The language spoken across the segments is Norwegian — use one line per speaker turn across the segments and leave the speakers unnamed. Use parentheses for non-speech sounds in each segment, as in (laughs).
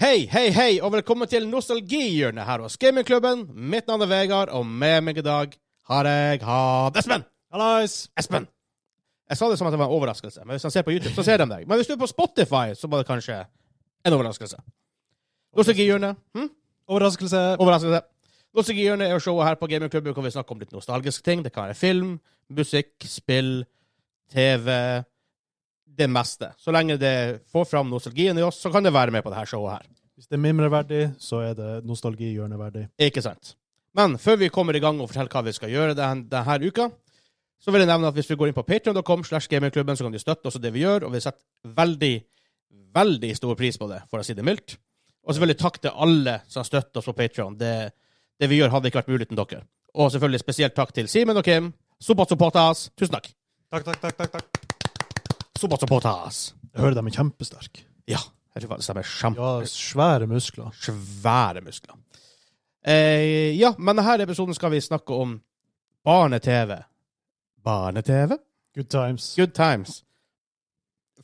Hei, hei, hei, og velkommen til nostalgihjørnet her hos Gamingklubben. Mitt navn er Vegard, og med meg i dag har jeg hatt Espen!
Hallais!
Espen! Jeg sa det som at det var en overraskelse, men hvis han ser på YouTube, så ser de deg. Men hvis du er på Spotify, så var det kanskje en overraskelse. Nostalgihjørnet. Hm?
Overraskelse.
Overraskelse. Nostalgihjørnet er jo showet her på Gamingklubben hvor vi snakker om litt nostalgiske ting. Det kan være film, musikk, spill, TV Det meste. Så lenge det får fram nostalgien i oss, så kan det være med på det her showet her.
Hvis det er mimreverdig, så er det nostalgihjørneverdig.
Ikke sant. Men før vi kommer i gang og forteller hva vi skal gjøre den, denne uka, så vil jeg nevne at hvis vi går inn på patreon.com slash gamingklubben, så kan du støtte også det vi gjør, og vi setter veldig, veldig stor pris på det, for å si det mildt. Og selvfølgelig takk til alle som støtter oss på Patreon. Det, det vi gjør, hadde ikke vært mulig uten dere. Og selvfølgelig spesielt takk til Simen og Kim. Sobat supportas. Tusen takk.
Takk, takk, takk. takk, takk.
Sobat supportas.
Jeg hører dem er kjempesterke.
Ja. Jeg tror faktisk de er
Ja,
kjempe
svære muskler.
svære muskler. Eh, ja, men denne episoden skal vi snakke om barne-TV. Barne-TV?
Good times.
Good times.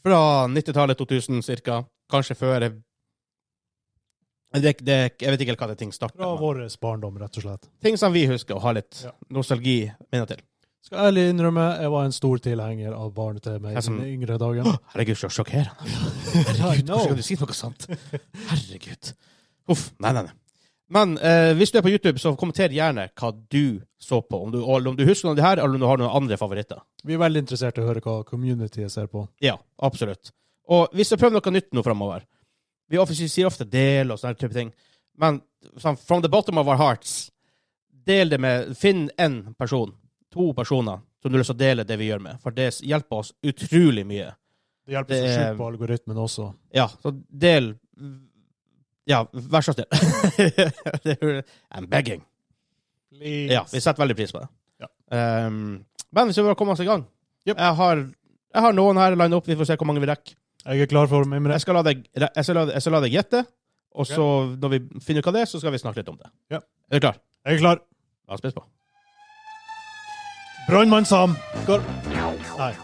Fra 90-tallet, 2000 cirka. Kanskje før jeg det, det, Jeg vet ikke helt hva det ting starter
Fra
med.
vår barndom, rett og slett.
Ting som vi husker og har litt
Ja.
nostalgi minnet til.
Skal ærlig innrømme, jeg var en stor tilhenger av barne-TV i
Jeg som-
mine yngre dager.
Herregud, så sjokkerende.
I
Herregud,
know.
hvordan kan du si noe sånt? Herregud. Uff. Nei, nei, nei. Men eh, hvis du er på YouTube, så kommenter gjerne hva du så på. Om du, om du husker noe av det her, eller om du har noen andre favoritter.
Vi er veldig interessert i å høre hva communityet ser på.
Ja, absolutt. Og vi skal prøve noe nytt nå framover. Vi ofte- sier ofte del og sånne type ting, men sånn, from the bottom of our hearts Del det med Finn én person, to personer, som du har lyst til å dele det vi gjør med. For det hjelper oss utrolig mye.
Det hjelper
Det
så
er-
sjukt på algoritmen også.
Ja, så del Ja, vær så snill. (laughs) Det er- I'm begging.
Please.
Ja, vi setter veldig pris på det.
Ja.
Ehm, men vi skal bare komme oss i gang.
Jep.
Jeg, har, jeg har noen her line opp, vi får se hvor mange vi rekker.
Jeg er klar for å mimre.
Jeg skal la deg, jeg skal la, jeg skal la deg gjette, og
Ok.
så når vi finner ut av det, så skal vi snakke litt om det.
Ja.
Er du klar?
Jeg er klar.
La oss spise på.
Brannmann Sam går Nei.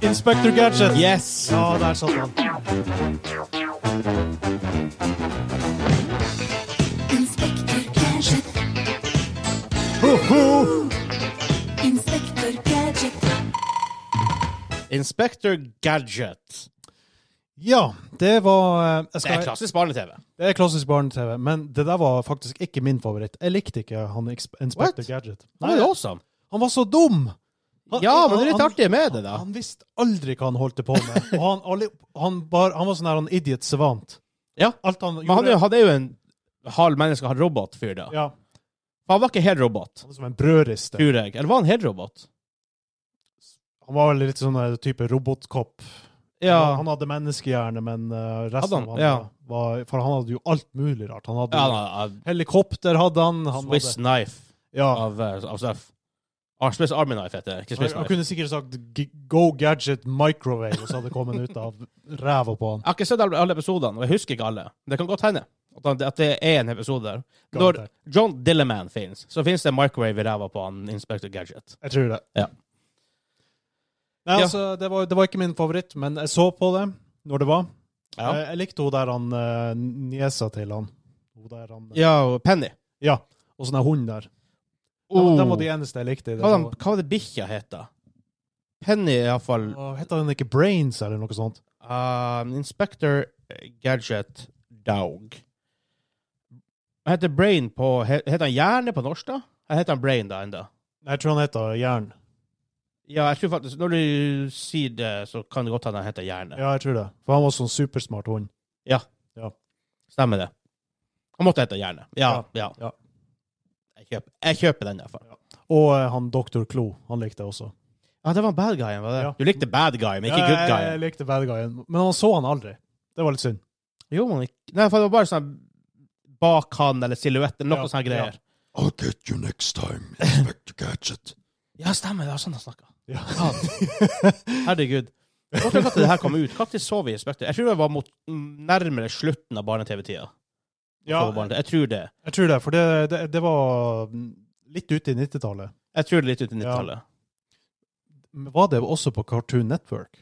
Inspector Gadget.
Yes!
Ja, der satt han.
Inspektør Gadget, Inspektør Gadget,
Inspector Gadget.
Ja, det var eh, jeg
Det
skal,
er klassisk barne-TV.
det er klassisk barne-TV, men det der var faktisk ikke min favoritt. Jeg likte ikke han Ex- Inspector
What?
Gadget.
Han er jo awesome.
han var så dum! Han-
Ja, men det er litt
han-
artig med det, da.
Han visste aldri hva han holdt på med. Og han, alle- han, bar, han var sånn her han idiot savant.
Ja.
Alt han
Men han er,
gjorde
jo- han er jo en halv menneske, halv robot-fyr, da.
ja,
For Han var ikke helt robot,
Han er som en brødriste.
tror jeg. Eller var han helt robot?
Han var vel litt sånn eh, type robotkopp.
Ja,
Han hadde menneskehjerne, men eh, resten
Hadde han?
av han
Ja.
var For han hadde jo alt mulig rart. Han hadde
ja han
helikopter, hadde han.
er
han
Swiss
hadde,
Knife
ja.
av, eh, av stuff. Ar Swiss Army Knife heter det, ikke
Han,
Swiss
han
Knife.
kunne sikkert sagt "G- 'Go Gadget Microwave', og så hadde det kommet ut av ræva på han.
Jeg har ikke sett alle alle episodene, og jeg husker ikke alle. Det kan godt hende at han- at det er en episode der. Når
Garantert.
John Dilleman fins, så fins det en microwave i ræva på han Inspector Gadget.
Jeg tror det.
Ja.
Nei,
Ja.
altså, det var, det var ikke min favoritt, men jeg så på det når det var.
Ja,
Jeg, jeg likte hun der han eh, niesa til han. Hun der han Ja.
ja og Penny.
Og sånn der hund der.
Oh.
Den, den var de eneste jeg likte. i det.
Hva, var- hva var det bikkja het, da? Penny, iallfall.
Åh, Heter den ikke Brains eller noe sånt?
Um, Inspector Gadget Dog. Han heter Brain på he- Heter han Hjerne på norsk, da? Eller heter han Brain da enda?
Nei, Jeg tror han heter Jern.
Ja, jeg tror faktisk Når du sier det, så kan det godt hende han heter Hjerne.
Ja, jeg tror det. For han var sånn supersmart hund.
Stemmer det. Han måtte hete Hjerne. Ja. ja.
ja.
Jeg, kjøper, jeg kjøper den, i hvert fall.
Og eh, han Dr. Klo, han likte jeg også.
Ja, det var bad guyen, var det?
Ja.
Du likte bad guyen, men ikke
Ja,
good
jeg- Jeg
guyen.
likte bad guyen, men han så han aldri. Det var litt synd.
Jo, man ikke... Nei, for det var bare sånn bak han, eller silhuett, eller noe
Ja,
sånne greier.
I'll get you next time, Inspector Gadget.
Ja, stemmer, det var sånn (laughs) han snakka.
Ja.
Herregud. Jeg vet ikke når det her kom ut. Når så vi Spekter? Jeg tror det var mot nærmere slutten av barne-TV-tida.
ja
Så barne- Jeg tror det.
jeg tror det, for det, det, det var litt ute i 90-tallet.
Jeg tror det er litt ut i 90-tallet.
Var det også på Cartoon Network?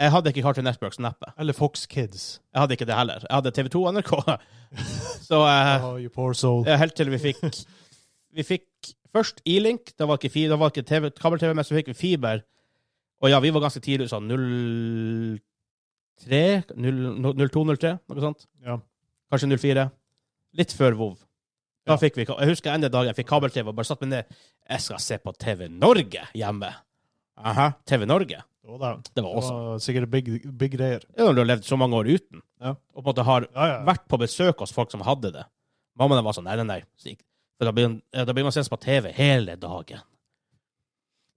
Jeg hadde ikke Cartoon Networks-neppet.
Eller Fox Kids?
Jeg hadde ikke det heller. Jeg hadde TV2 og NRK. (laughs) Så eh,
Oh, you poor
(laughs)
soul.
eh, helt til vi fikk Vi fikk først E-Link. Da var ikke, fi- da var ikke TV, kabel-TV, men så fikk vi fiber. Og ja, vi var ganske tidlig, sånn 03? 02-03, noe sånt.
Ja.
Kanskje 04. Litt før WoW. Da
Ja.
fikk vi, ka- jeg husker enda dagen jeg fikk kabel-TV og bare satt meg ned. Jeg skal se på TV Norge hjemme. Aha, TV Norge.
Det var, det.
Det var
Det
awesome.
var sikkert big, big greier.
Det er når du har levd så mange år uten,
Ja.
og på en måte har
Ja, ja.
vært på besøk hos folk som hadde det. Mammaen var sånn, nei, nei, nei. så gikk- For da blir, da blir man sendt på TV hele dagen.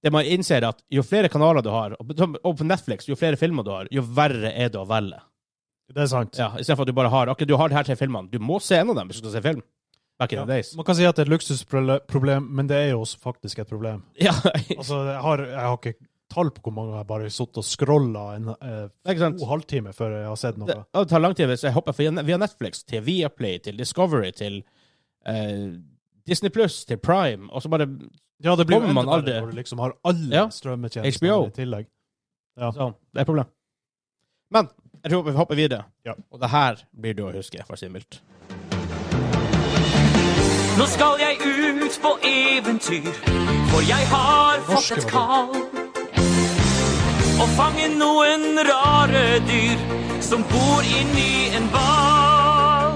Det man innser er at jo flere kanaler du har, og på- og på Netflix, jo flere filmer du har, jo verre er det å velge.
Det er sant.
Ja, I stedet for at du bare har akkurat du har de her tre filmene. Du må se en av dem hvis du skal se film. Back in
Ja.
the days.
Man kan si at det er et luksusproblem, men det er jo også faktisk et problem.
Ja, (laughs)
Altså, jeg har, jeg har ikke tall på hvor mange jeg bare har sittet og scrolla en eh,
ikke sant?
to halvtime før jeg har sett
Det,
noe.
og det tar lang tid hvis jeg hopper fra- via Netflix til Viaplay til Discovery til eh, Disney Pluss til Prime, og så bare
Ja, det blir jo
kommer man
enda
aldri-
verre når du liksom har alle
Ja.
strømmetjenestene
HBO.
i tillegg. Ja.
Så det er et problem. Men jeg tror vi hopper videre.
Ja.
Og det her blir du å huske, for å si det mildt.
Nå skal jeg ut på eventyr, for jeg har fått et kall. Å fange noen rare dyr som bor inni en hval.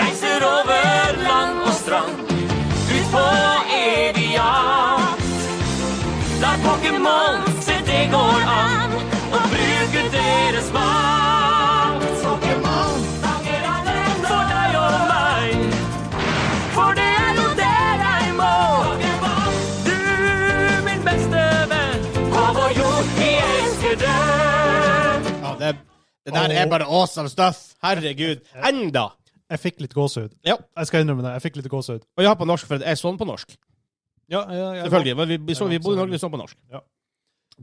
Reiser over land og strand, ut på evig jakt. Der Pokémon ser det går an, og bruker deres makt. Pokémon fanger alle for deg og meg. For det er jo det jeg må Du, min beste venn På vår jord, vi elsker deg
Ja, det, det der er bare awesome stuff! Herregud. Enda!
Jeg fikk litt gåsehud.
Ja.
Jeg skal innrømme det. Jeg fikk litt gåsehud.
Og jeg har på norsk, for jeg så den på norsk.
Ja, ja, ja.
Selvfølgelig. men Vi, vi, så, vi bodde i Norge, vi så den på norsk.
Ja.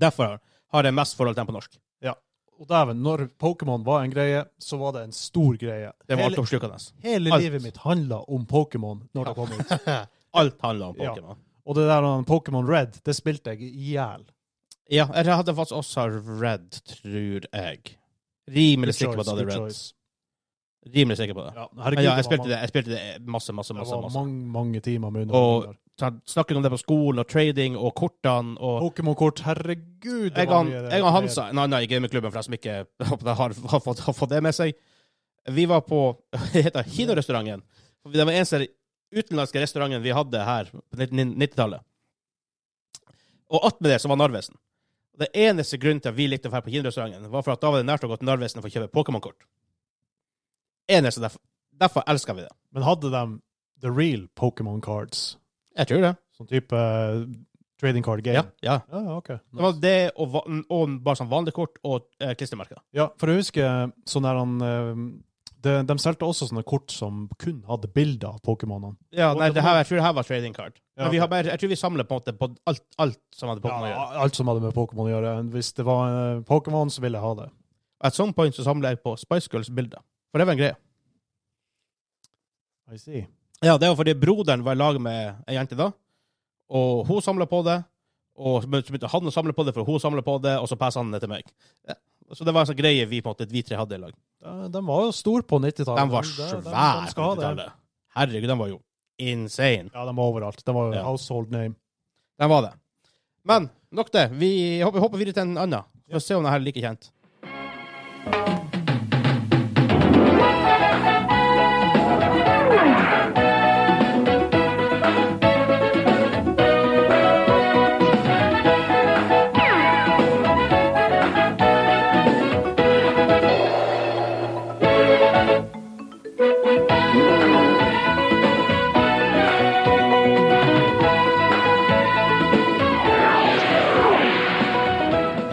Derfor har jeg mest forhold til den på norsk.
Ja. Og dæven, når Pokémon var en greie, så var det en stor greie.
Det var
hele,
altoppslukende.
hele
alt.
livet mitt handla om Pokémon når det kom ut.
Alt handler om
Ja.
Pokémon.
Og det der han, Pokémon Red, det spilte jeg i hjel.
Ja. jeg hadde faktisk også Red, tror jeg. Rimelig sikker på at jeg hadde Red. Rimelig sikker på det.
Ja,
Ja,
herregud,
jeg spilte
det.
det, jeg spilte det masse, masse,
var mange-
masse.
Det var
masse.
mange, mange timer med
Og-
underholdning. der.
Så jeg snakket om det på skolen, og trading, og kortene, og
Pokémon-kort, herregud! Oh, det
jeg
var
og
mye-
jeg og Hansa, en annen i gamingklubben, for jeg som ikke (laughs) har, har, fått, har fått det med seg, vi var på (laughs) det heter Kino-restauranten. Det var den eneste utenlandske restauranten vi hadde her på 90-tallet. Og attmed det så var Narvesen. Det eneste grunnen til at vi likte å være på Kino-restauranten, var for at da var det nært å gå til Narvesen for å kjøpe Pokémon-kort. Eneste derfor. Derfor elska vi det.
Men hadde de the real Pokémon cards?
Jeg tror det.
Sånn type eh, trading card game?
Ja. ja.
Ja, ja, ok.
Det var det og, va- og bare sånn vanlige kort og eh, klistremerker.
Ja, for jeg husker sånn der han eh, de, de solgte også sånne kort som kun hadde bilder av Pokémonene.
Ja,
Og
nei,
det
det her, jeg tror det her var trading card.
Ja,
Men vi
ok.
har bare, jeg tror vi samler på en måte på alt, alt som hadde Pokémon å
Ja,
gjøre.
alt som hadde med Pokémon å gjøre. Hvis det var eh, Pokémon, så ville jeg ha det.
At some point så samler jeg på Spice Girls-bilder. For det var en greie.
I see.
Ja, det var fordi broderen var i lag med ei jente da, og hun samla på det. Og så begynte så begynte han å samle på det, for hun samla på det, og så passet han det til meg. Ja. Så det var en sånn greie vi på en måte, vi tre hadde i lag.
De, de var jo store på 90-tallet.
De var
De- de- de-
svære
de
på
skal ha det.
90-tallet. Herregud, de var jo insane.
Ja, de var overalt. De var jo
Ja.
household name.
Den var det. Men nok det. Vi hopper, hopper videre til en annen. For å se om den her er like kjent.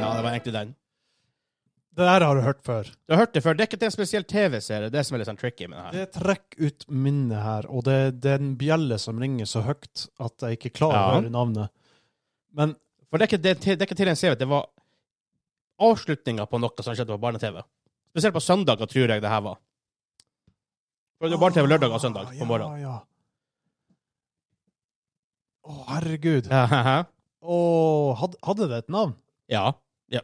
Ja, det var egentlig den.
Det der har du hørt før.
Du har hørt det før. Det er ikke til en spesiell TV-serie. Det som er litt sånn tricky med den her.
Det trekker ut minnet her, og det, det er en bjelle som ringer så høyt at jeg ikke klarer å
Ja.
høre navnet. Men
For det er ikke, det, det er ikke til en serie. Det var avslutninga på noe som skjedde på barne-TV. Spesielt på søndager, tror jeg det her var. For det var barne-TV lørdag og søndag
Ah,
på morgenen.
Ja, ja. Å, herregud.
Ja, haha.
Og had, hadde det et navn?
Ja. ja.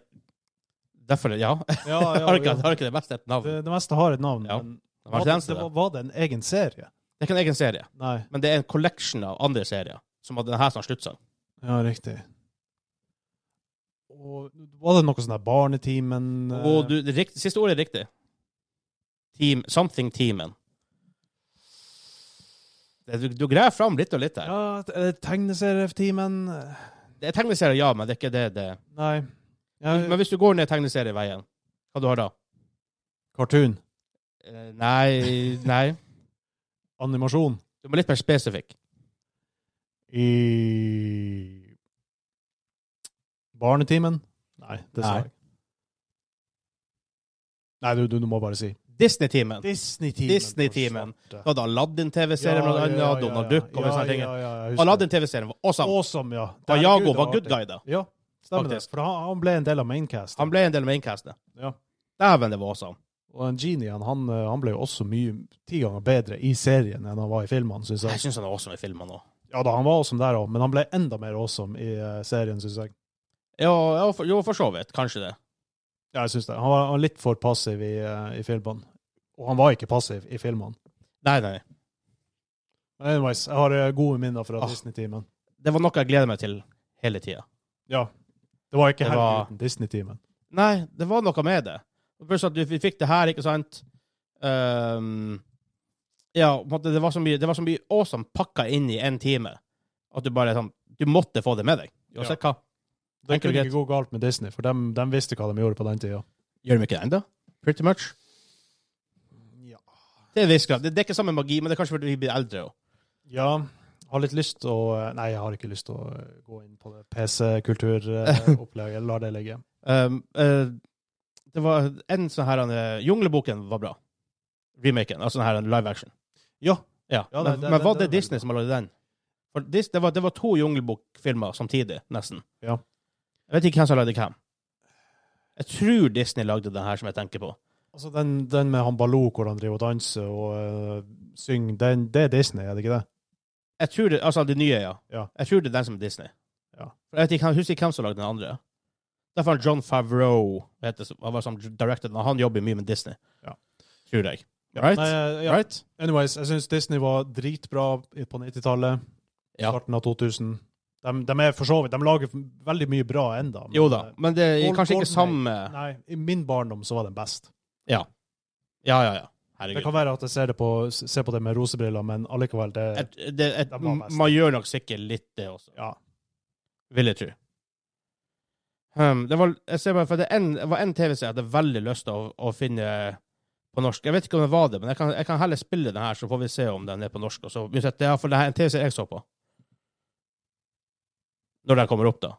Derfor, (laughs) ja.
Ja,
har, ikke, har ikke det meste et navn.
Det, det meste har et navn.
Ja.
Men
Det
var
var,
det,
det,
det var, var det en egen serie?
det er ikke en egen serie,
Nei.
men det er en collection av andre serier. Som hadde denne som har sluttsang.
Ja, riktig. Og var det noe sånn der Barnetimen eh,
Og du, det rikt- siste ordet er riktig. Team, something Teamen. Det- Du, du greier fram litt og litt her.
Ja, eh, Tegneserietimen eh,
Det er tegneserier, ja, men det er ikke det det
Nei. Ja,
Men hvis du går ned tegneserieveien, hva du har da?
Cartoon.
Eh, Nei, nei.
Animasjon.
Du må litt mer spesifikk.
I Barnetimen? Nei, det sa
Nei.
jeg. Nei, du, du, du må bare si.
Disney-teamen.
Disney-timen.
Disney-timen. Du hadde Aladdin-TV-serien, blant annet. Donald Duck og sånne ting.
Aladdin.
Aladdin-TV-serien var awesome.
Awesome, ja.
Og
Herregud,
Jago
det
var good
artig.
guy, da.
Ja, stemmer det.
Faktisk.
For han, han ble en del av maincast.
Han ble en del av maincastet.
Ja.
Dæven, det var awesome.
Og en genie, han, han, eh, han ble jo også mye, ti ganger bedre i serien enn han var i filmene, synes
Jeg
jeg.
syns han er awesome i filmene òg.
Ja da, han var awesome der òg, men han ble enda mer awesome i eh, serien, synes jeg.
Ja, ja, for- jo, for så vidt. Kanskje det.
Ja, jeg synes det. Han var, han var litt for passiv i, eh, i filmene. Og han var ikke passiv i filmene.
Nei, nei.
Men anyways, jeg har eh, gode minner fra
Ah.
Disney-timen.
Det var noe jeg gleder meg til hele tida.
Ja. Det var ikke
Det
helt
var-
uten Disney-timen.
Nei, det var noe med det. Pluss at du vi fikk det her, ikke sant? Ehm, ja, på en måte, det var så mye, det var så mye awesome pakka inn i en time at du bare sånn Du måtte få det med deg. Uansett hva.
Det
Enkelt og
kunne
greit.
ikke gå galt med Disney, for de, visste hva de gjorde på den tida.
Gjør de ikke det ennå? Pretty much.
Ja.
Det er, en viss grad. det, det er ikke samme magi, men det er kanskje fordi vi blir eldre òg.
ja. Har litt lyst til å eh, Nei, jeg har ikke lyst til å eh, gå inn på det (laughs) PC-kulturopplegget. La det ligge.
Ehm, eh, det var en sånn her eh, Jungleboken var bra. Remaken. Altså den her live action.
Ja.
Ja.
Ja,
men,
nei, den-
men var
den-
det
den er
Disney
veldig
som lagde den? For Dis, det, var, det var to Junglebok-filmer samtidig, nesten.
Ja.
Jeg vet ikke hvem som lagde hvem. Jeg tror Disney lagde den her som jeg tenker på.
Altså, den, den med han Baloo hvor han driver og danser og eh, synger, den, det er Disney, er det ikke det?
Jeg tror det, Altså de nye, ja.
Ja.
Jeg tror det er den som er Disney.
Ja.
For jeg, vet ikke, jeg husker ikke hvem som lagde den andre. Derfor er John Favreau heter, som- han var som directed, den, og han jobber mye med Disney.
Ja.
Tror jeg. Right?
Nei, eh, ja.
Right?
Anyways, jeg syns Disney var dritbra på 90-tallet.
Ja.
Starten av 2000. De, de er for så vidt De lager veldig mye bra enda. men,
Jo da,
eh,
men det er
Gold-
kanskje ikke
Golden
samme
Nei, i min barndom så var den best.
Ja, ja, ja.
Det
Herregud.
kan være at jeg ser det på, ser på det med rosebriller, men allikevel, det
Et, det, et,
Den var best.
man gjør nok sikkert litt det også,
Ja.
vil jeg tro. Um, det var, jeg ser bare, for det, er en, det var en TV-serie jeg hadde veldig lyst til å, å finne på norsk. Jeg vet ikke om det var det, men jeg kan, jeg kan heller spille den her, så får vi se om den er på norsk. Og så, uansett, det er for det her er en TV-serie jeg så på. Når den kommer opp, da.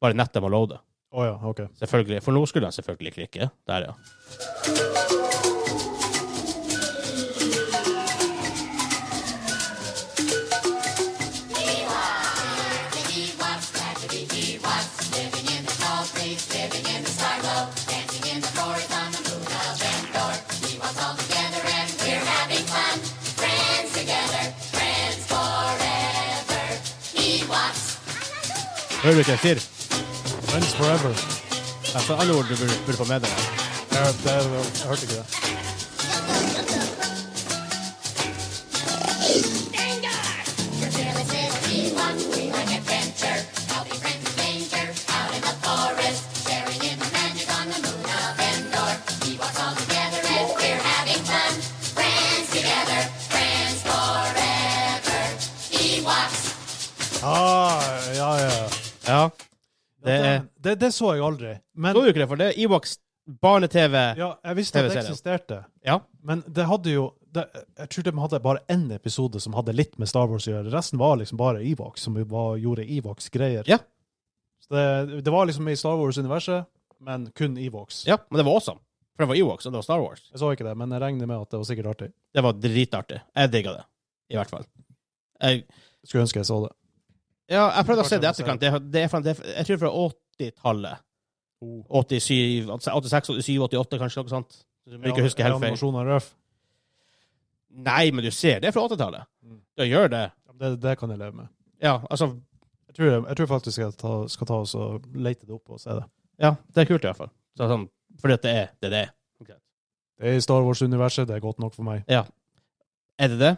Bare nettet må loade.
Å ja, OK.
Selvfølgelig. For nå skulle den selvfølgelig klikke. Der, ja. Hører du ikke jeg sier?
Friends forever.
Ja, for alle ord du burde, burde få med deg.
Jeg, det, jeg hørte ikke det. Ah, ja, ja.
Ja. Det
ja
er
det, det, det så jeg aldri. Men
Så du ikke det, for det er Ewoks barne-TV. Ja.
ja, jeg visste at det
TV-serien.
eksisterte. Men det hadde jo det, Jeg tror de hadde bare én episode som hadde litt med Star Wars å gjøre. Resten var liksom bare Evox, som jo var, gjorde Evox-greier.
Ja.
Så det, det var liksom i Star Wars-universet, men kun Evox.
ja. Men det var awesome. For det var Ewoks, og det var Star Wars.
Jeg så ikke det, men jeg regner med at det var sikkert artig.
Det var dritartig. Jeg digga det. I hvert fall. Jeg,
Skulle ønske jeg så det.
ja, jeg prøvde å se det i etterkant. Det, det er fra, det, er- jeg tror fra altså 80-tallet.
Oh.
87, 86, 87, 88, kanskje noe sånt. Som jeg ikke husker helt feil.
Animasjonen er røff.
Nei, men du ser, det er fra 80-tallet.
Mm.
Ja, gjør det.
Det, det kan jeg leve med.
Ja, altså
Jeg tror, jeg tror faktisk jeg ta, skal ta oss og lete det opp og se det.
Ja, det er kult i hvert fall. Så, sånn, fordi at det er det det er.
Det er i Star Wars-universet, det er godt nok for meg.
Er det det?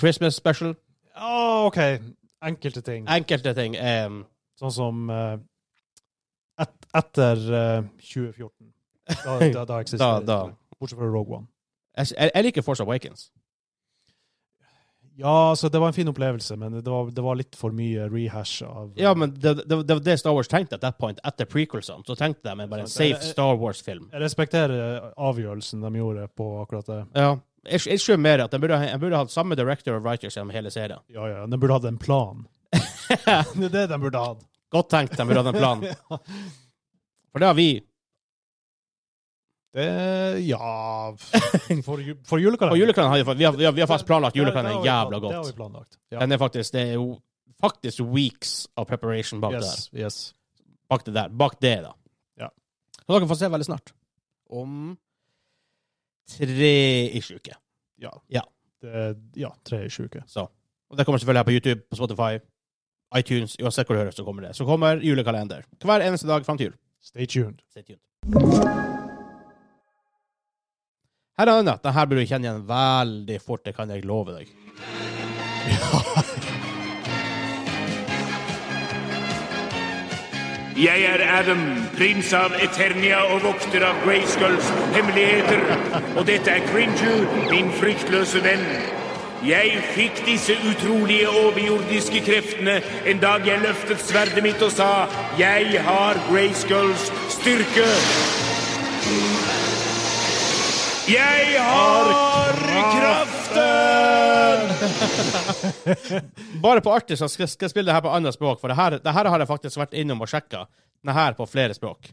Christmas special.
Ja, OK. Enkelte ting.
Enkelte ting er um,
Sånn som eh, et, etter eh, 2014.
(laughs)
Da, da, da
Da-
eksisterer
da.
det. ikke. Bortsett fra Rogue One.
jeg, jeg liker Force Awakens.
Ja, så det var en fin opplevelse, men det var, det var litt for mye rehash av
Ja, men det det- det var det, Star Wars tenkte at that point, etter prequelsene. Så tenkte de bare en safe Star Wars-film.
eh, Jeg respekterer avgjørelsen de gjorde på akkurat det.
Ja. Jeg, jeg skjønner mer at de burde, ha- de burde hatt samme director of writers gjennom hele serien.
Ja, ja, de burde hatt en
(laughs)
plan. det er det de burde hatt.
Godt tenkt, de burde hatt en
(laughs)
plan. For det har vi.
Det Ja (laughs) For, ju- for julekalender.
Og julekalenderen har vi fa- vi har, vi har, vi har faktisk planlagt
Det- det- det
julekalenderen
har vi
jævla
plan- Det har vi
godt.
planlagt. Ja.
Den er faktisk, det er jo faktisk weeks av preparation bak, det,
Yes, yes.
der. bak det der. Bak det, da.
Ja.
Så dere får se veldig snart. Om tre-ish uker.
Det, ja, tre i sju uker.
Så. Og det kommer selvfølgelig her på YouTube, på Spotify, iTunes, uansett hvor du hører, så kommer det. Så kommer julekalender. Hver eneste dag fram til jul.
Stay tuned.
Stay tuned. Her er en annen. Den her burde du kjenne igjen veldig fort, det kan jeg love deg.
Jeg er Adam, prins av Eternia og vokter av Grayskulls hemmeligheter. Og dette er Cringer, min fryktløse venn. Jeg fikk disse utrolige overjordiske kreftene en dag jeg løftet sverdet mitt og sa 'Jeg har Grayskulls styrke'. Jeg har kraften!
Bare på artig så skal skal jeg spille det her på andre språk, for det her, det her har jeg faktisk vært innom og sjekka. Den her på flere språk.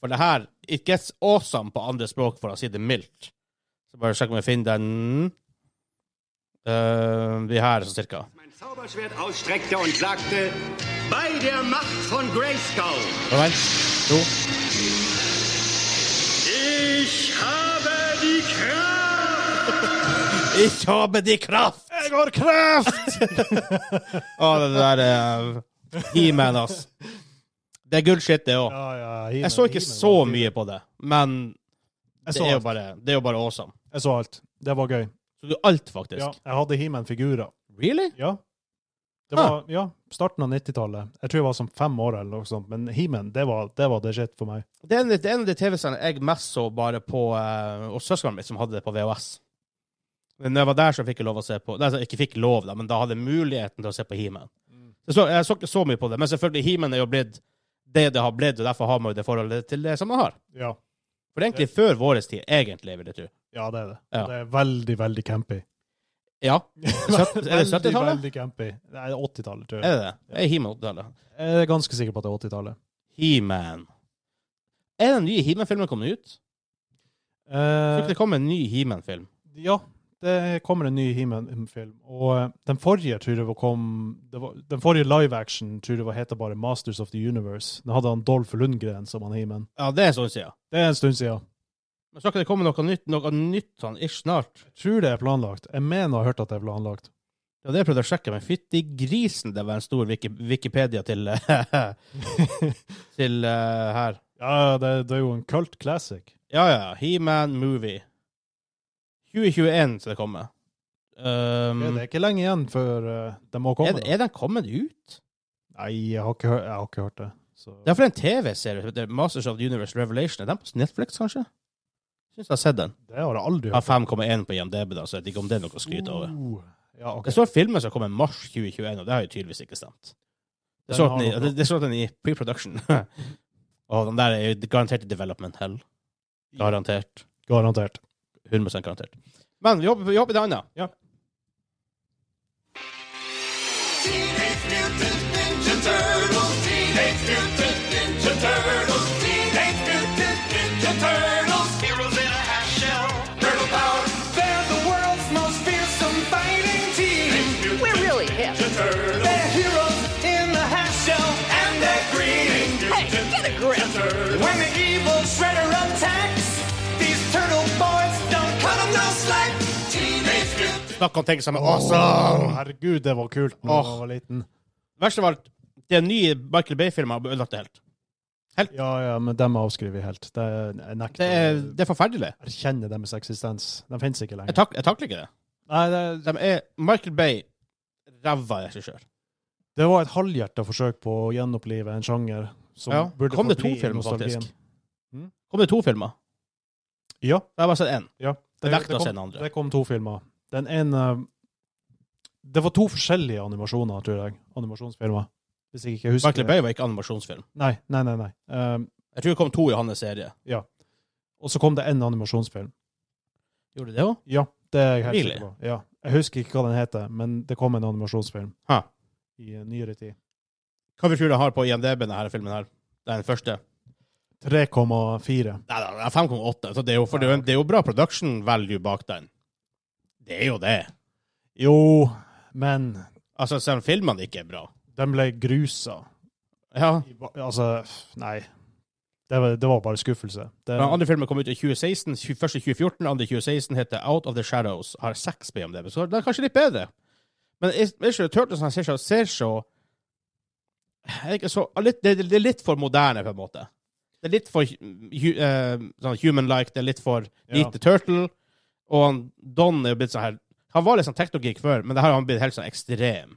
For det her It gets awesome på andre språk, for å si det mildt. Så bare sjekk om jeg finner den Eh, De her, sånn cirka.
mein Zauberschwert ausstreckte und sagte, bei der Macht von Grayskull,
Kom igjen. To.
ich habe die Kraft.
Ich habe die kraft! Jeg har kraft! Å, det der eh, He-Man, ass. Det er good shit, det òg.
Ja, ja,
Jeg så ikke så mye på det, men det
Jeg så,
er jo
alt.
bare, det er jo bare awesome.
jeg så alt. Det var gøy.
Så du alt,
Ja,
faktisk.
jeg hadde He-Man-figurer.
Really?
Ja. Det
Ah.
var ja, starten av 90-tallet. Jeg tror jeg var som fem år, eller noe sånt. Men He-Man, det var det, var det shit for meg.
Det er en, det er en av de TV-sendene jeg mest så bare på eh, Og søskenen min som hadde det på VHS. Men når jeg var der, så fikk jeg lov å se på Nei, så jeg ikke fikk lov, da, men da hadde jeg muligheten til å se på He-Man.
Mm.
Så, så jeg så ikke så mye på det, men selvfølgelig, He-Man er jo blitt det det har blitt, og derfor har man jo det forholdet til det som man har.
Ja,
For det er egentlig før vår tid, egentlig, vil jeg tro.
ja det er det.
Ja.
Det er veldig,
(laughs)
veldig campy.
Ja. (laughs) Søtt- Er det 70-tallet?
Veldig campy. Det er 80-tallet,
Er
tror
det
jeg.
det? Det er He-Man-tallet.
Jeg er ganske sikker på at det er 80-tallet.
He-Man. Er den nye He-Man-filmen kommet ut? Jeg tror
Eh,
ikke det kom en ny He-Man-film.
ja, det kommer en ny He-Man-film. Og eh, den forrige tror jeg var kom det var, Den forrige live-action tror jeg var heter bare Masters of the Universe. Den hadde han Dolph Lundgren som han He-Man.
Ja, det er en stund siden.
Det er en stund siden.
Men så kan det komme noe nytt, noe nytt sånn ish snart.
Jeg tror det er planlagt. Jeg mener å ha hørt at det er planlagt.
Ja, det prøvde jeg å sjekke, men fytti grisen, det var en stor Wiki Wikipedia til (laughs) eh, Til eh, her.
Ja, det, det er jo en cult classic.
Ja, ja. He-Man Movie. 2021 skal det komme. Um,
Ja, det
er,
er ikke lenge igjen før eh, de må komme.
er, den kommet ut?
da. Nei, jeg har ikke, hø- jeg har ikke hørt det. Så.
Det er for en TV-serie som heter Masters of the Universe Revelation. Er den på Netflix, kanskje? Syns jeg har sett den.
Det har jeg aldri
Jeg har
hørt.
5,1 på IMDb, da, så jeg vet ikke om det er noe å skryte over.
Uh, ja, ok.
Det står filmer som kommer i mars 2021, og det har jo tydeligvis ikke stemt. Det
Den
står at
har
den,
noe
i-
bra.
det- det står at den er i pre-production. (laughs) og den der er jo garantert i development hell. Garantert.
Garantert.
100 garantert. Men vi hopper, vi hopper til annet.
Teenage Mutant Ninja Turtles. Teenage Mutant Ninja Turtles. Teenage Mutant Ninja Turtles. Heroes in a half shell. Turtle power. They're the world's most fearsome fighting team.
We're really hip.
They're heroes in a half shell, and they're green.
Hey, get a grip.
When the evil shredder attacks, these turtle boys don't cut 'em no slack. Teenage Mutant
Snakk om ting som er awesome!
Å, herregud, det var kult da jeg var liten.
Verst av alt, den nye Michael Bay-filmen har ødelagt det helt.
Ja, ja, men dem avskriver jeg helt. Det, jeg nekter
Det er, det er forferdelig.
å erkjenne deres eksistens. De finnes ikke
Jeg,
lenger.
tak, jeg takler ikke det.
Nei, det,
De er Michael Bay, ræva regissør.
det var et halvhjerta forsøk på å gjenopplive en sjanger som
Ja.
burde
Kom det to
forbli i
filmer,
nostalgien.
faktisk?
Mm.
Kom det to filmer?
Ja.
Jeg har bare sett én.
Ja.
Jeg nekter å
kom-
se den andre.
Det kom to filmer. Den ene Det var to forskjellige animasjoner, tror jeg. Animasjonsfilmer. Hvis jeg ikke husker
Michael Bay var ikke animasjonsfilm.
Nei, nei, nei. nei. Um,
Jeg tror det kom to i hans serie.
og så kom det en animasjonsfilm.
Gjorde det òg?
Ja, det er jeg helt
Really?
sikker på. Ja. Jeg husker ikke hva den heter, men det kom en animasjonsfilm
Ha.
i eh, nyere tid.
Hva vi tror den har på IMDb, denne filmen her? Det er den første.
3,4.
Nei, nei, nei 5,8. Så det er, jo, for det, er jo, det er jo bra production value bak den. Det er jo det.
Jo, men
Altså, selv om filmene ikke er bra.
den ble grusa.
Ja.
I ba- Altså, nei. Det var, det var bare skuffelse. Det,
Den andre filmen kom ut i 2016. tju- Første i 2014, andre i 2016 heter Out of the Shadows. Har seks BMDB, så den er kanskje litt bedre. Men er er ikke det Turtles han sånn ser så, ser så er ikke så litt, det, det er litt for moderne, på en måte. Det er litt for hu, eh, sånn human-like, det er litt for lite turtle. Og han, Don er jo blitt sånn her Han var litt sånn teknogeek før, men det her har han blitt helt sånn ekstrem.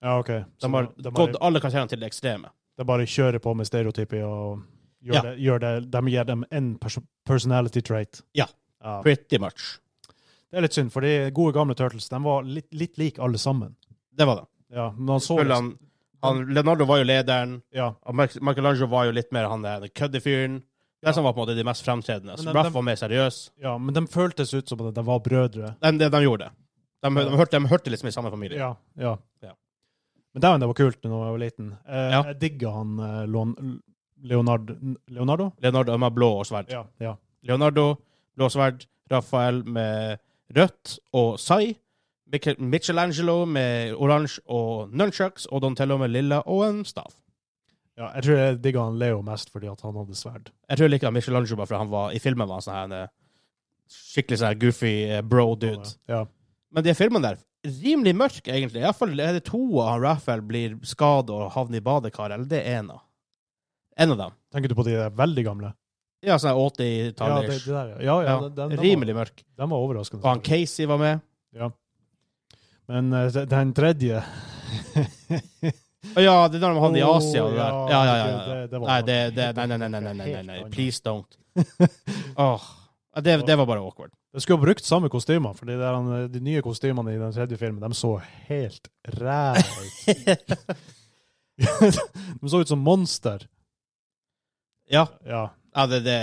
ja, OK. Så
De har
de har-
gått alle karakterene til det ekstreme.
Det er bare å kjøre på med stereotyper og gjør
Ja.
det, gjør det, de gir dem en perso personality trait.
Ja.
Ja.
Pretty much.
Det er litt synd, for de gode gamle Turtles de var litt, litt like alle sammen.
Det var det.
Ja, men han så
Føler Han, han, Leonardo var jo lederen.
ja.
Og Michael- Michelangelo var jo litt mer han der køddefyren. Det som var på en måte de mest fremtredende.
Men de-
Så Ruff
de-
var mer seriøs.
ja, men de føltes ut som at de var brødre.
De, de, de gjorde det. De, de, hørte, de hørte liksom i samme familie.
Ja, ja.
Ja.
Men dæven, det var kult da jeg var liten. Eh,
Ja.
Jeg digga han eh, Leon- Leonard, Leonardo?
Leonardo med blå og sverd.
Ja. ja.
Leonardo, blå sverd. Raphael med rødt og sai. Michel- Michelangelo med oransje og nunchucks. Og Donatello med lilla og en stav.
ja. Jeg tror jeg digga han Leo mest fordi at han hadde sverd.
Jeg tror jeg liker Michelangelo bare fordi han var i filmen var han sånn her en eh, skikkelig sånn her goofy eh, bro-dude.
Ja.
Men de filmene der, rimelig mørke, egentlig. Iallfall er det to av han Raphael blir skada og havner i badekaret, eller det er en av. En av dem.
Tenker du på de der veldig gamle?
Ja, sånn
Ja, det, det
80-tallers.
der, ja. ja, ja,
Ja,
den- den- den var-
rimelig mørk.
Den var overraskende.
Og han Casey var med.
Men eh, de- den tredje
Å ja, det er når de havner i
Åh,
Asia og det der. Ja, ja, ja. ja.
det- det- det var
Nei, det, det, nei, nei, nei, nei, nei, nei, nei, nei. please don't. (laughs) Åh. Ja, Det, det var bare awkward.
De skulle ha brukt samme kostymer, for de, der, han- eh, de nye kostymene i den tredje filmen de så helt ræva ut.
(laughs)
(laughs) de så ut som monster.
Ja,
Ja.
ja det, det,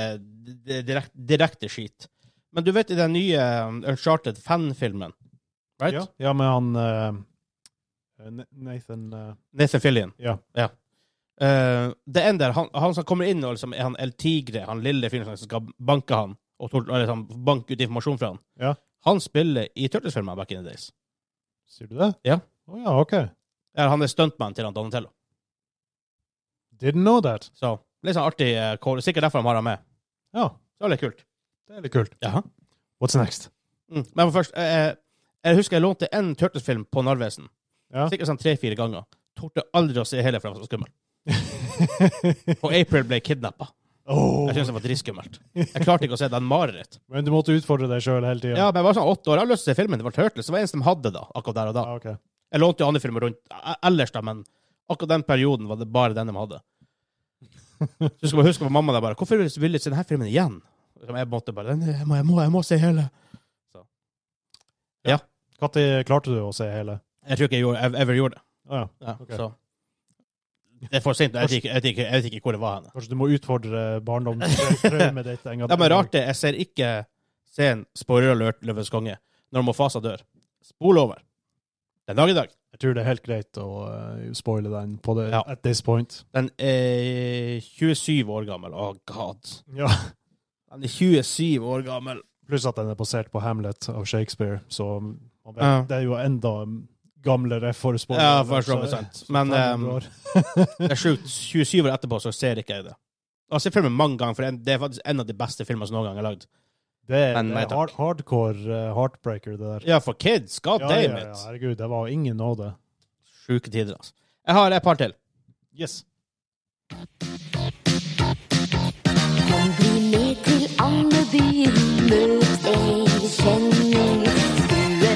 det er direkt, direkte skit. Men du vet i den nye um, Uncharted fan-filmen, right?
ja. ja, med han eh, Na- Nathan eh,
Nathan Fillion.
Ja.
Eh, det ender, han, han som kommer inn og liksom, er han El Tigre, han lille fyren som skal banke han, og tort- eller, sånn, banke ut informasjon fra han.
Ja.
Han spiller i Turtles-filmen back in the days.
Sier du det?
Ja.
Å ja, OK.
Eller, han er stuntman til han Donatello.
Didn't know that.
Så litt sånn artig eh, kål. Sikkert derfor de har han med.
Ja,
Så det var litt kult.
det er litt kult.
Jaha.
What's next?
Mm. Men først, eh, jeg husker jeg lånte en Turtles-film på Narvesen.
Ja.
Sikkert sånn tre-fire ganger. Torde aldri å se hele, for den var så skummel.
(laughs)
Og April ble kidnappa.
Åh,
Jeg syntes det var dritskummelt. Jeg klarte ikke å se den mareritt.
Men du måtte utfordre deg sjøl hele tida?
Ja, men jeg var sånn åtte år. Jeg hadde lyst til å se filmen. Det var Turtles. Det var eneste de hadde da, akkurat der og da.
Ah, ok.
Jeg lånte jo andre filmer rundt eh, ellers, da, men akkurat den perioden var det bare den de
(laughs)
hadde. Så jeg skal bare huske på mamma der bare Hvorfor vil du se denne filmen igjen? Som Jeg måtte bare «Den- jeg må, jeg må, jeg må se hele.
Når klarte du å se hele?
Jeg tror ikke jeg gjorde, jeg, ever gjorde det.
Å ja.
Ja,
Ok.
Så Det er for sent. Jeg vet ikke, jeg vet ikke, jeg vet ikke hvor det var hen.
Kanskje du må utfordre
(laughs)
barndomstraumet ditt en gang?
Det er bare rart, det. Jeg ser ikke scenen Spoiler alert Løvens konge når Mofasa dør. Spol over. Den dag i dag.
Jeg tror det er helt greit å eh, spoile den på det,
Ja.
at this point.
Den er 27 år gammel. Å, god.
Ja.
Han er 27 år gammel.
(laughs) Pluss at den er basert på Hamlet av Shakespeare, så man vet,
Ja.
det er jo enda gamlere for spoiler.
Ja, for så vidt sant. Men, ehm,
um,
Det er sjukt. 27 år etterpå så ser ikke jeg det. Jeg har sett filmen mange ganger, for en- det er faktisk en av de beste filmene som noen gang er lagd.
det er,
men nei,
det er hard, hardcore eh, heartbreaker, det der.
Ja, for kids. God
Ja,
damn
ja,
it.
ja, herregud, det var ingen nåde.
Sjuke tider, altså. Jeg har et par til.
Yes.
Kom bli med til Andeby, møt en kjenning. Skue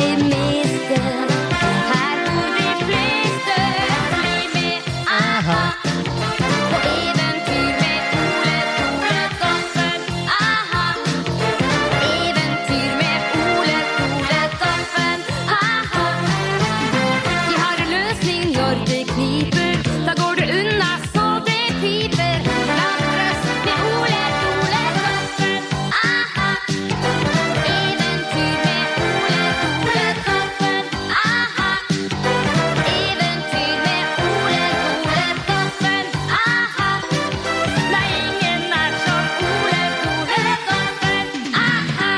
det meste, her bor de fleste. Bli med, aha, på eventyr med Ole, Ole Doffen, aha. Eventyr med Ole, Ole Doffen, aha. De har en løsning når det kniper. Da går det unna så det piper. Latres med Ole, Ole Doffen. Aha. Eventyr med Ole, Ole Doffen. Aha. Eventyr med Ole, Ole Doffen. Aha. Nei, ingen er som Ole, Ole Doffen. Aha.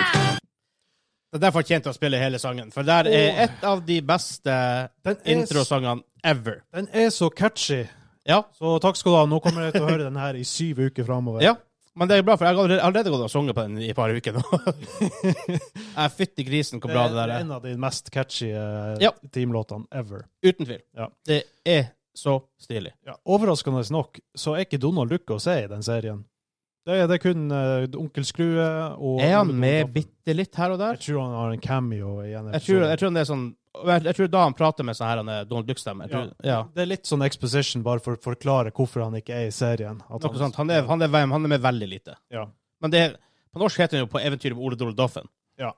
Det der fortjente å spille hele sangen, for der er et av de beste
Den er
introsangene ever.
Den er så catchy.
Ja.
Så takk skal du ha. Nå kommer jeg til å høre den her i syv uker framover.
ja. Men det er bra, for jeg har allerede- allerede gått og sunget på den i et par uker
(laughs)
nå. Jeg Fytti grisen, hvor bra det der er.
En av de mest catchy eh,
Ja.
teamlåtene ever.
Uten tvil.
Ja.
Det er så stilig.
Overraskende nok så er ikke Donald Duck å se i den serien. Det er, det er kun eh, Onkel Skrue og
Er han
Ole
med
Donald.
bitte litt her og der?
Jeg tror han har en cameo i en
Jeg tror, jeg tror det er sånn jeg, jeg tror da han prater med sånn her han er Donald Duck-stemme. Jeg tror- Ja.
Det er litt sånn exposition, bare for å forklare hvorfor han ikke er i serien. At
Noe sånt. Han er, han, er, han er med veldig lite.
Ja.
Men det er, på norsk heter den jo På eventyret med Ole Dole Doffen.
Det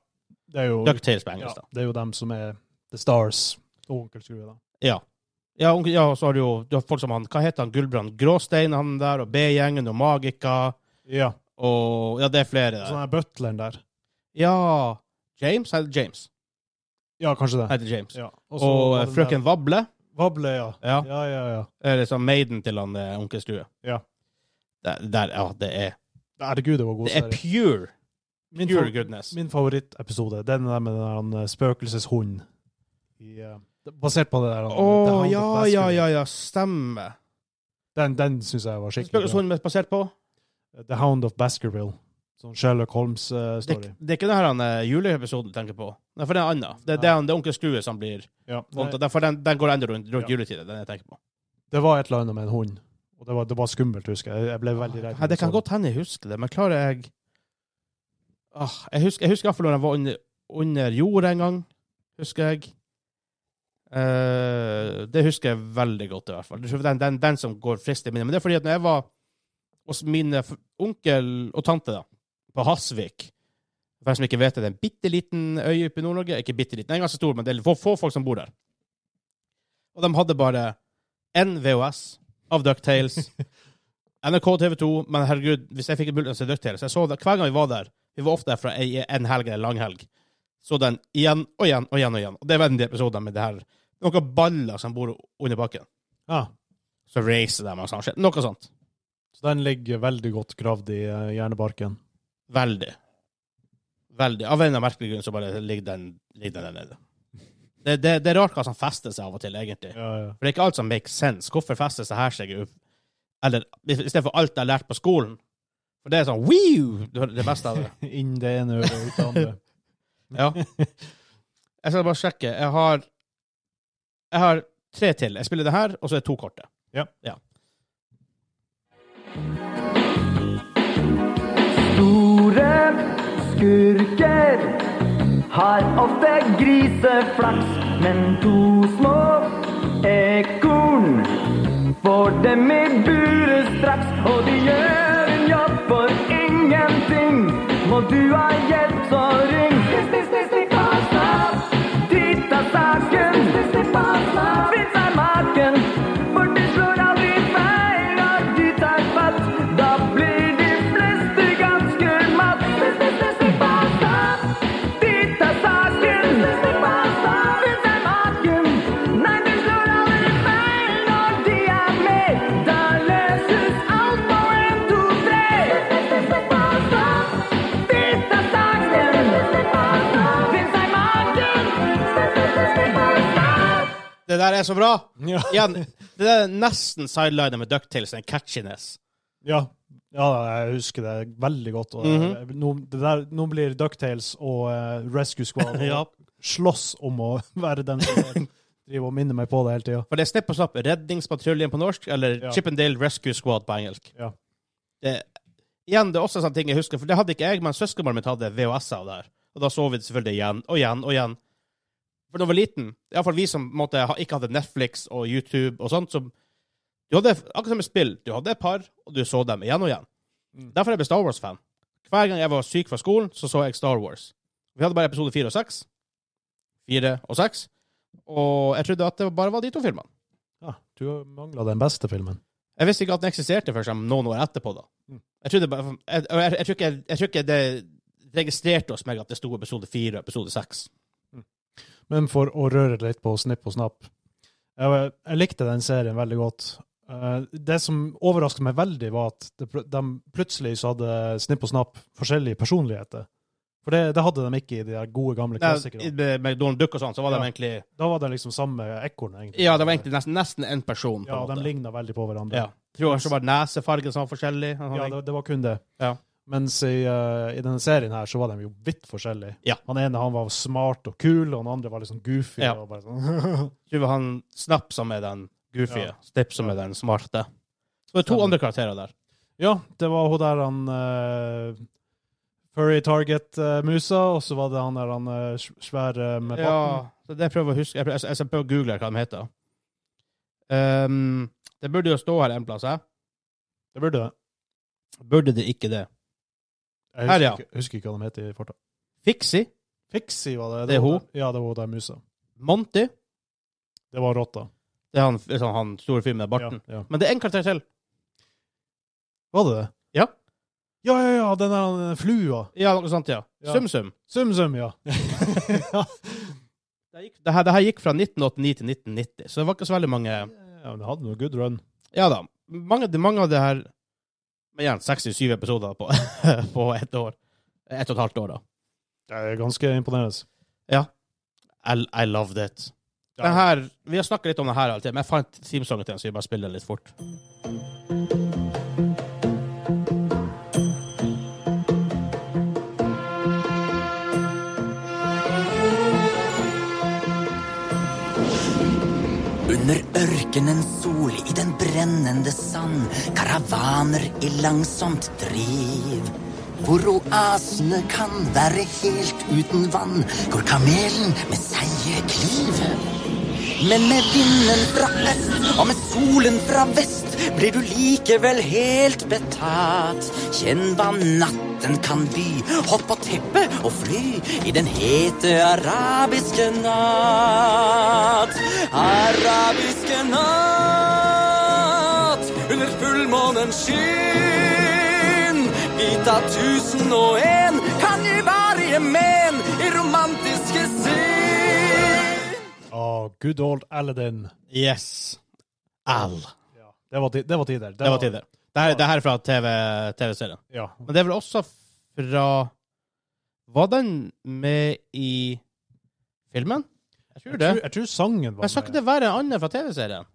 er jo,
Ducktales på
ja,
engelsk, da.
det er jo dem som er The Stars og Onkel Skrue, da.
Ja. Ja, onkel- ja, og så har du jo du har folk som han Hva heter han? Gulbrand Gråstein, han der, og B-gjengen og Magika,
Ja.
og Ja, det er flere
Sånn
der.
her butleren der.
Ja James? Heter James.
Ja, kanskje det.
Heter James.
Ja.
Og,
så var
eh,
den der-
frøken Vable
Vable, ja.
Ja.
Ja, ja, ja.
er liksom maiden til han eh, onkel Skrue.
Ja.
Der, der, ja, det er
Herregud, det var god
Det er
serie.
pure,
Min,
pure
fa-
goodness.
min favorittepisode, den der med den der han, eh, spøkelseshunden. I, eh, basert på det der. han-
Å,
The Hound of
ja, ja,
Baskerville.
ja, ja, stemmer.
Den, den syns jeg var skikkelig bra.
Spøkelseshunden er basert på
The Hound of Baskerville. Sånn Sherlock
det,
Holmes-story.
det er ikke denne juleepisoden du tenker på. Nei, for det er annet. Det, det er han- det er onkel Skrue som blir
ja.
vondt. og Derfor den, den går enda rundt, rundt
Ja.
juletiden, den jeg tenker på.
Det var et eller annet med en hund. Og det var, det var skummelt, husker jeg. Jeg ble veldig redd. sånn.
Nei, det kan godt hende jeg husker det, men klarer jeg ah, Jeg husker, jeg husker iallfall når jeg var under, under jorda en gang, husker jeg. Eh, det husker jeg veldig godt, i hvert fall. Det er Den, den, den som går frist i minnet. Men det er fordi at når jeg var hos mine f- onkel og tante da, på Hasvik For de som ikke vet det, det er en bitte liten øy oppe i Nord-Norge. Ikke bitte liten, den er ganske stor, men det er få, få folk som bor der. Og de hadde bare én VHS av DuckTales. NRK TV 2, men herregud, hvis jeg fikk en mulighet til å se DuckTales jeg så det, Hver gang vi var der, vi var ofte der fra ei- en helg eller en lang helg, så den igjen og igjen og igjen. Og igjen. Og det var en del episoder med det her. Noen baller som bor under bakken.
Ja.
Så reiser de og sånn shit. Noe sånt.
Så den ligger veldig godt gravd i eh, hjernebarken.
Veldig. Veldig. Av en eller annen merkelig grunn så bare ligger den, ligger den der nede. Det, det, det er rart hva som fester seg av og til, egentlig.
Ja, ja.
For det er ikke alt som makes sense. Hvorfor fester det her seg opp? Eller i stedet for alt jeg har lært på skolen. For det er sånn Wii! Du hører det beste av det.
(laughs) Inn det ene øret og ut det andre.
Ja. Jeg skal bare sjekke. Jeg har Jeg har tre til. Jeg spiller det her, og så er det to korte.
(laughs) Ja.
Store skurker har ofte griseflaks, men to små ekorn får dem i buret straks. Og de gjør en jobb for ingenting. Må du ha hjelp, så ring. Titt av saken, vits er maken, for det slår aldri feil når du tar fatt. Da blir de fleste ganske matt. Titt av saken, vits er maken, nei, det slår aldri feil når de er med. Da løses alt på en, to, tre. Titt av saken, vits er maken.
Det der er så bra!
Ja.
Igjen, det der er nesten sideliner med ducktales and catchiness.
ja. Ja, jeg husker det veldig godt. Og,
Mhm.
eh, nå, det der, nå blir Ducktales og eh, Rescue (laughs) Squad og
Ja.
slåss om å (laughs) være den som driver og minner meg på det hele tida.
For det er snipp og snapp Redningspatruljen på norsk, eller
Ja.
Chippendale Rescue Squad på engelsk.
Ja.
Det, igjen, det er også en sånn ting jeg husker, for det hadde ikke jeg, men søskenbarnet mitt hadde VHS av det her. Og da så vi det selvfølgelig igjen og igjen og igjen. For da jeg var liten, iallfall vi som på en måte, ha- ikke hadde Netflix og YouTube og sånt, som du hadde, Akkurat som med spill, du hadde et par, og du så dem igjen og igjen.
Mm.
Derfor er jeg ble Star Wars-fan. Hver gang jeg var syk fra skolen, så så jeg Star Wars. Vi hadde bare episode fire og seks. Fire og seks. Og jeg trodde at det bare var de to filmene.
Ja, du mangla den beste filmen.
Jeg visste ikke at den eksisterte før som noen år etterpå. da. Jeg trodde bare, jeg, og jeg, jeg, tror ikke, jeg tror ikke det registrerte hos meg at det sto episode fire og episode seks.
Men for å røre litt på snipp og snapp Jeg, jeg likte den serien veldig godt. Eh, Det som overrasket meg veldig, var at det pl- de plutselig så hadde snipp og snapp forskjellige personligheter. For det, det hadde de ikke i de der gode, gamle
Nei,
klassikerne.
i- Med med Donald Duck og sånn, så var
Ja.
de egentlig
Da var det liksom samme ekornet, egentlig.
Ja, det var egentlig nesten, nesten en person. på
Ja,
en måte.
de ligna veldig på hverandre.
Ja. Tror kanskje bare nesefargen sånn forskjellig. og sånne
Ja,
ting.
det, det var kun det.
Ja.
Mens i, eh, i denne serien her så var de jo vidt forskjellige.
Ja.
Han ene han var smart og kul, og han andre var litt sånn goofy.
Ja.
Og bare sånn. (laughs)
Tror det var han Snapp som er den goofy,
Ja.
Snip som er den smarte. Så det er to
Stemmer.
andre karakterer der.
ja, det var hun der han eh, Furry Target-musa, og så var det han der han eh, sv- svære med barten.
Ja, så det prøver jeg å huske. Jeg prøver, jeg, jeg prøver å google hva de heter. Ehm, det burde jo stå her en plass, hæ?
Det burde det.
Burde det ikke det? Her,
Jeg husker,
ja.
ikke, husker ikke hva de het i farta.
Fixie?
Fixie var det.
Det er
var
hun.
der- Ja, det var hun der musa.
Monty?
Det var rotta.
Det er han, sånn, han store fyren med barten.
Ja, ja.
Men det er en karakter til.
Var det det?
Ja.
Ja, ja, ja, den der han, eh, flua.
Ja, noe sånt, ja.
Ja.
Sum-sum.
Sum-sum,
(laughs)
ja. ja.
Det, gikk- det, her- det her gikk fra 1989 til 1990, så det var ikke så veldig mange
Ja, men det hadde noe good run.
Ja da. Mange, mange av det her Men igjen, 67 episoder på, (laughs) på ett år. Ett og et halvt år, da.
Det er ganske imponerende.
I, I loved it. Den her, vi har snakket litt om den her alltid, men jeg fant teamsongen til den, så vi bare spiller den litt fort.
Under ørkenens sol, i den brennende sand, karavaner i langsomt driv. Hvor oasene kan være helt uten vann, går kamelen med seige kliv. Men med vinden fra øst og med solen fra vest blir du likevel helt betatt. Kjenn hva natten kan by. Hopp på teppet og fly i den hete arabiske natt. Arabiske natt under fullmånens skinn. Vit at tusen og en kan gi varje men i romantiske sinn.
Ah, good old Aladdin.
Yes. Al. Det
Ja. Det, var ti- det var tider. Det,
var tider. Det her, det her er fra TV TV-serien.
Ja.
Men det er vel også fra Var den med i filmen? Jeg tror
Jeg
det.
tror, jeg tror sangen var
Men skal ikke det være en annen fra TV-serien?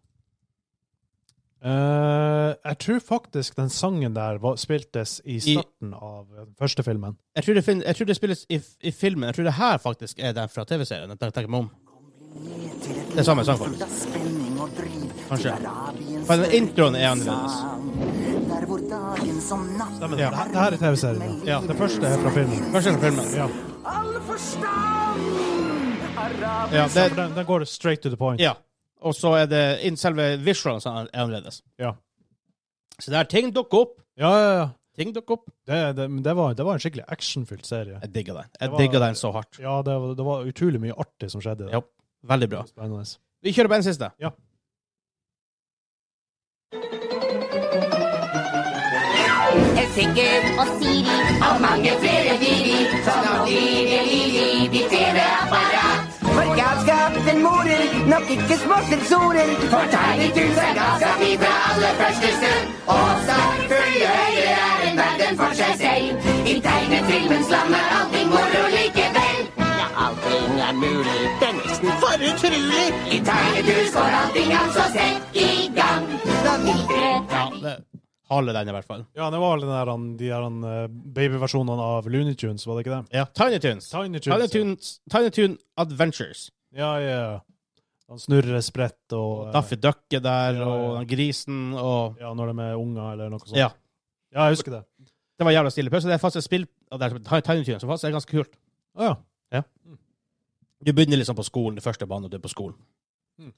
Eh, jeg tror faktisk den sangen der var, spiltes i starten av den første filmen.
Jeg tror det, fin jeg tror det spilles i, i filmen. Jeg tror det her faktisk er den fra TV-serien. Jeg tenker- tenker meg om.
Det
Det er samme sang, faktisk. Kanskje.
Kanskje.
Men introen er annerledes.
Stemmer det. Det her- Det her er TV-serien.
Ja.
Det første er fra filmen.
Kanskje fra filmen.
Ja.
Ja,
For
det,
Den, den går straight to the point.
ja. Og så er det inn selve visualen som er annerledes.
Ja,
Så der ting dukker opp.
ja, ja. ja.
Ting dukker opp.
Det, det, men det, var, det var en skikkelig actionfylt serie.
Jeg digger den. Jeg
var-
digger den så hardt.
Ja, det var, det var utrolig mye artig som skjedde.
Ja. Veldig bra.
Spennende.
Vi kjører på en siste.
Ja.
En Sigurd og Siri og mange flere dyr som nå lyder Lili i TV-apparat.
For galskapen morer nok ikke små sensorer.
Fortegnet du seg galskapi fra aller første stund. Og selvfølgelig Høyre er en verden for seg selv. I tegnefilmens land er allting moro likevel.
Ja, allting er mulig. Det er nesten for utrolig.
I tegnehus går allting altså sett i gang. Så vi tre
Ja, det, hale den, i hvert fall.
Ja, det var vel den der, han- de der han, eh, babyversjonene av Looney Tunes, var det ikke det?
Ja. Tiny Tunes.
Tiny Tunes.
Tiny Tunes, Tiny Tune Adventures.
Ja, ja. ja. Han snurrer sprett og eh,
Daffy Duck er der,
ja,
og
ja.
den grisen, og
Ja, sånn. når de er unger eller noe sånt.
Ja.
Ja, jeg husker det.
Det var jævla stille pause. Det er faktisk et spill av det her som heter Tiny Tunes, som faktisk er ganske kult.
Å ja.
Du begynner liksom på skolen, det første banen, og du er på skolen.
Mm.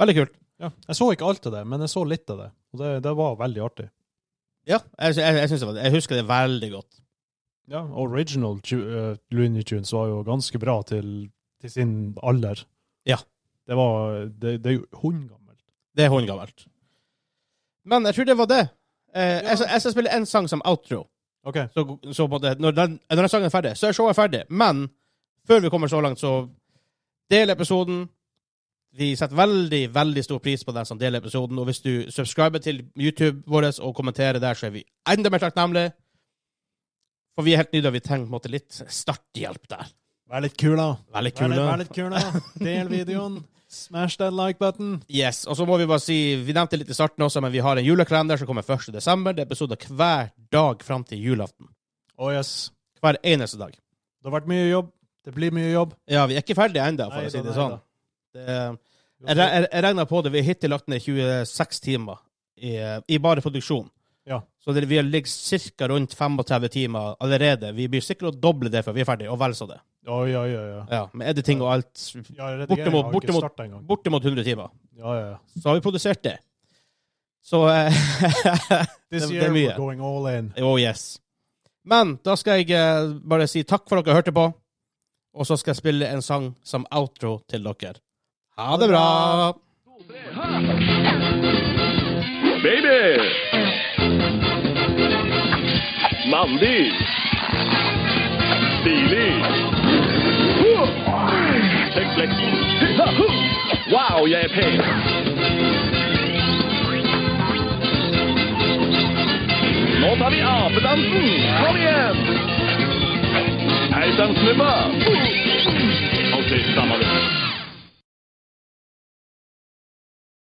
Veldig kult.
ja. Jeg så ikke alt av det, men jeg så litt av det. Og det, det var veldig artig.
Ja, jeg, jeg, jeg, synes det var, jeg husker det veldig godt.
Ja, Original tu eh, Looney Tunes var jo ganske bra til, til sin alder.
Ja.
Det var Det, det er jo hundgammelt.
Det er håndgammelt. Men jeg tror det var det. Eh, jeg, skal- jeg skal spille en sang som outro.
OK.
Så, så på en måte, når, den, når den sangen er ferdig, så er showet ferdig. Men før vi kommer så langt, så del episoden. Vi setter veldig veldig stor pris på deg som deler episoden. Og hvis du subscriber til YouTube vår og kommenterer der, så er vi enda mer takknemlige. For vi er helt nye, og vi trenger på en måte litt starthjelp der.
Vær litt kula.
Veldig
Vær
kule.
litt, vær litt kula. Del videoen. Smash that like button.
Yes, og så må vi bare si, vi nevnte litt i starten også, men vi har en julekalender som kommer 1. desember. Det er episoder hver dag fram til julaften.
Oh yes.
Hver eneste dag.
Det har vært mye jobb. Det blir mye jobb.
Ja, vi er ikke ferdige ennå, for
Nei
å si
da,
det
nei
sånn.
da.
Det, jeg re- jeg, jeg regner på det, vi har hittil lagt ned 26 timer i, i bare produksjon.
Ja.
Så det, vi ligger ca. rundt 35 timer allerede. Vi blir sikkert å doble det før vi er ferdige, og vel så det.
Oi, oi, oi. oi.
Ja, Med editing og alt.
Ja, redigeringen
Eh, Bortimot,
har ikke
bortimot,
startet engang.
bortimot 100 timer.
Ja, ja, ja.
Så har vi produsert det. Så eh, (laughs)
This
Det- det er
year
mye.
we're going all in.
Oh yes. Men da skal jeg eh, bare si takk for at dere hørte på, og så skal jeg spille en sang som outro til dere. Ha det bra!
Baby! Mandig! Stilig! Tenk flekken! Wow, jeg er pen! Nå tar vi apedansen! Kom igjen! Er dansnummer!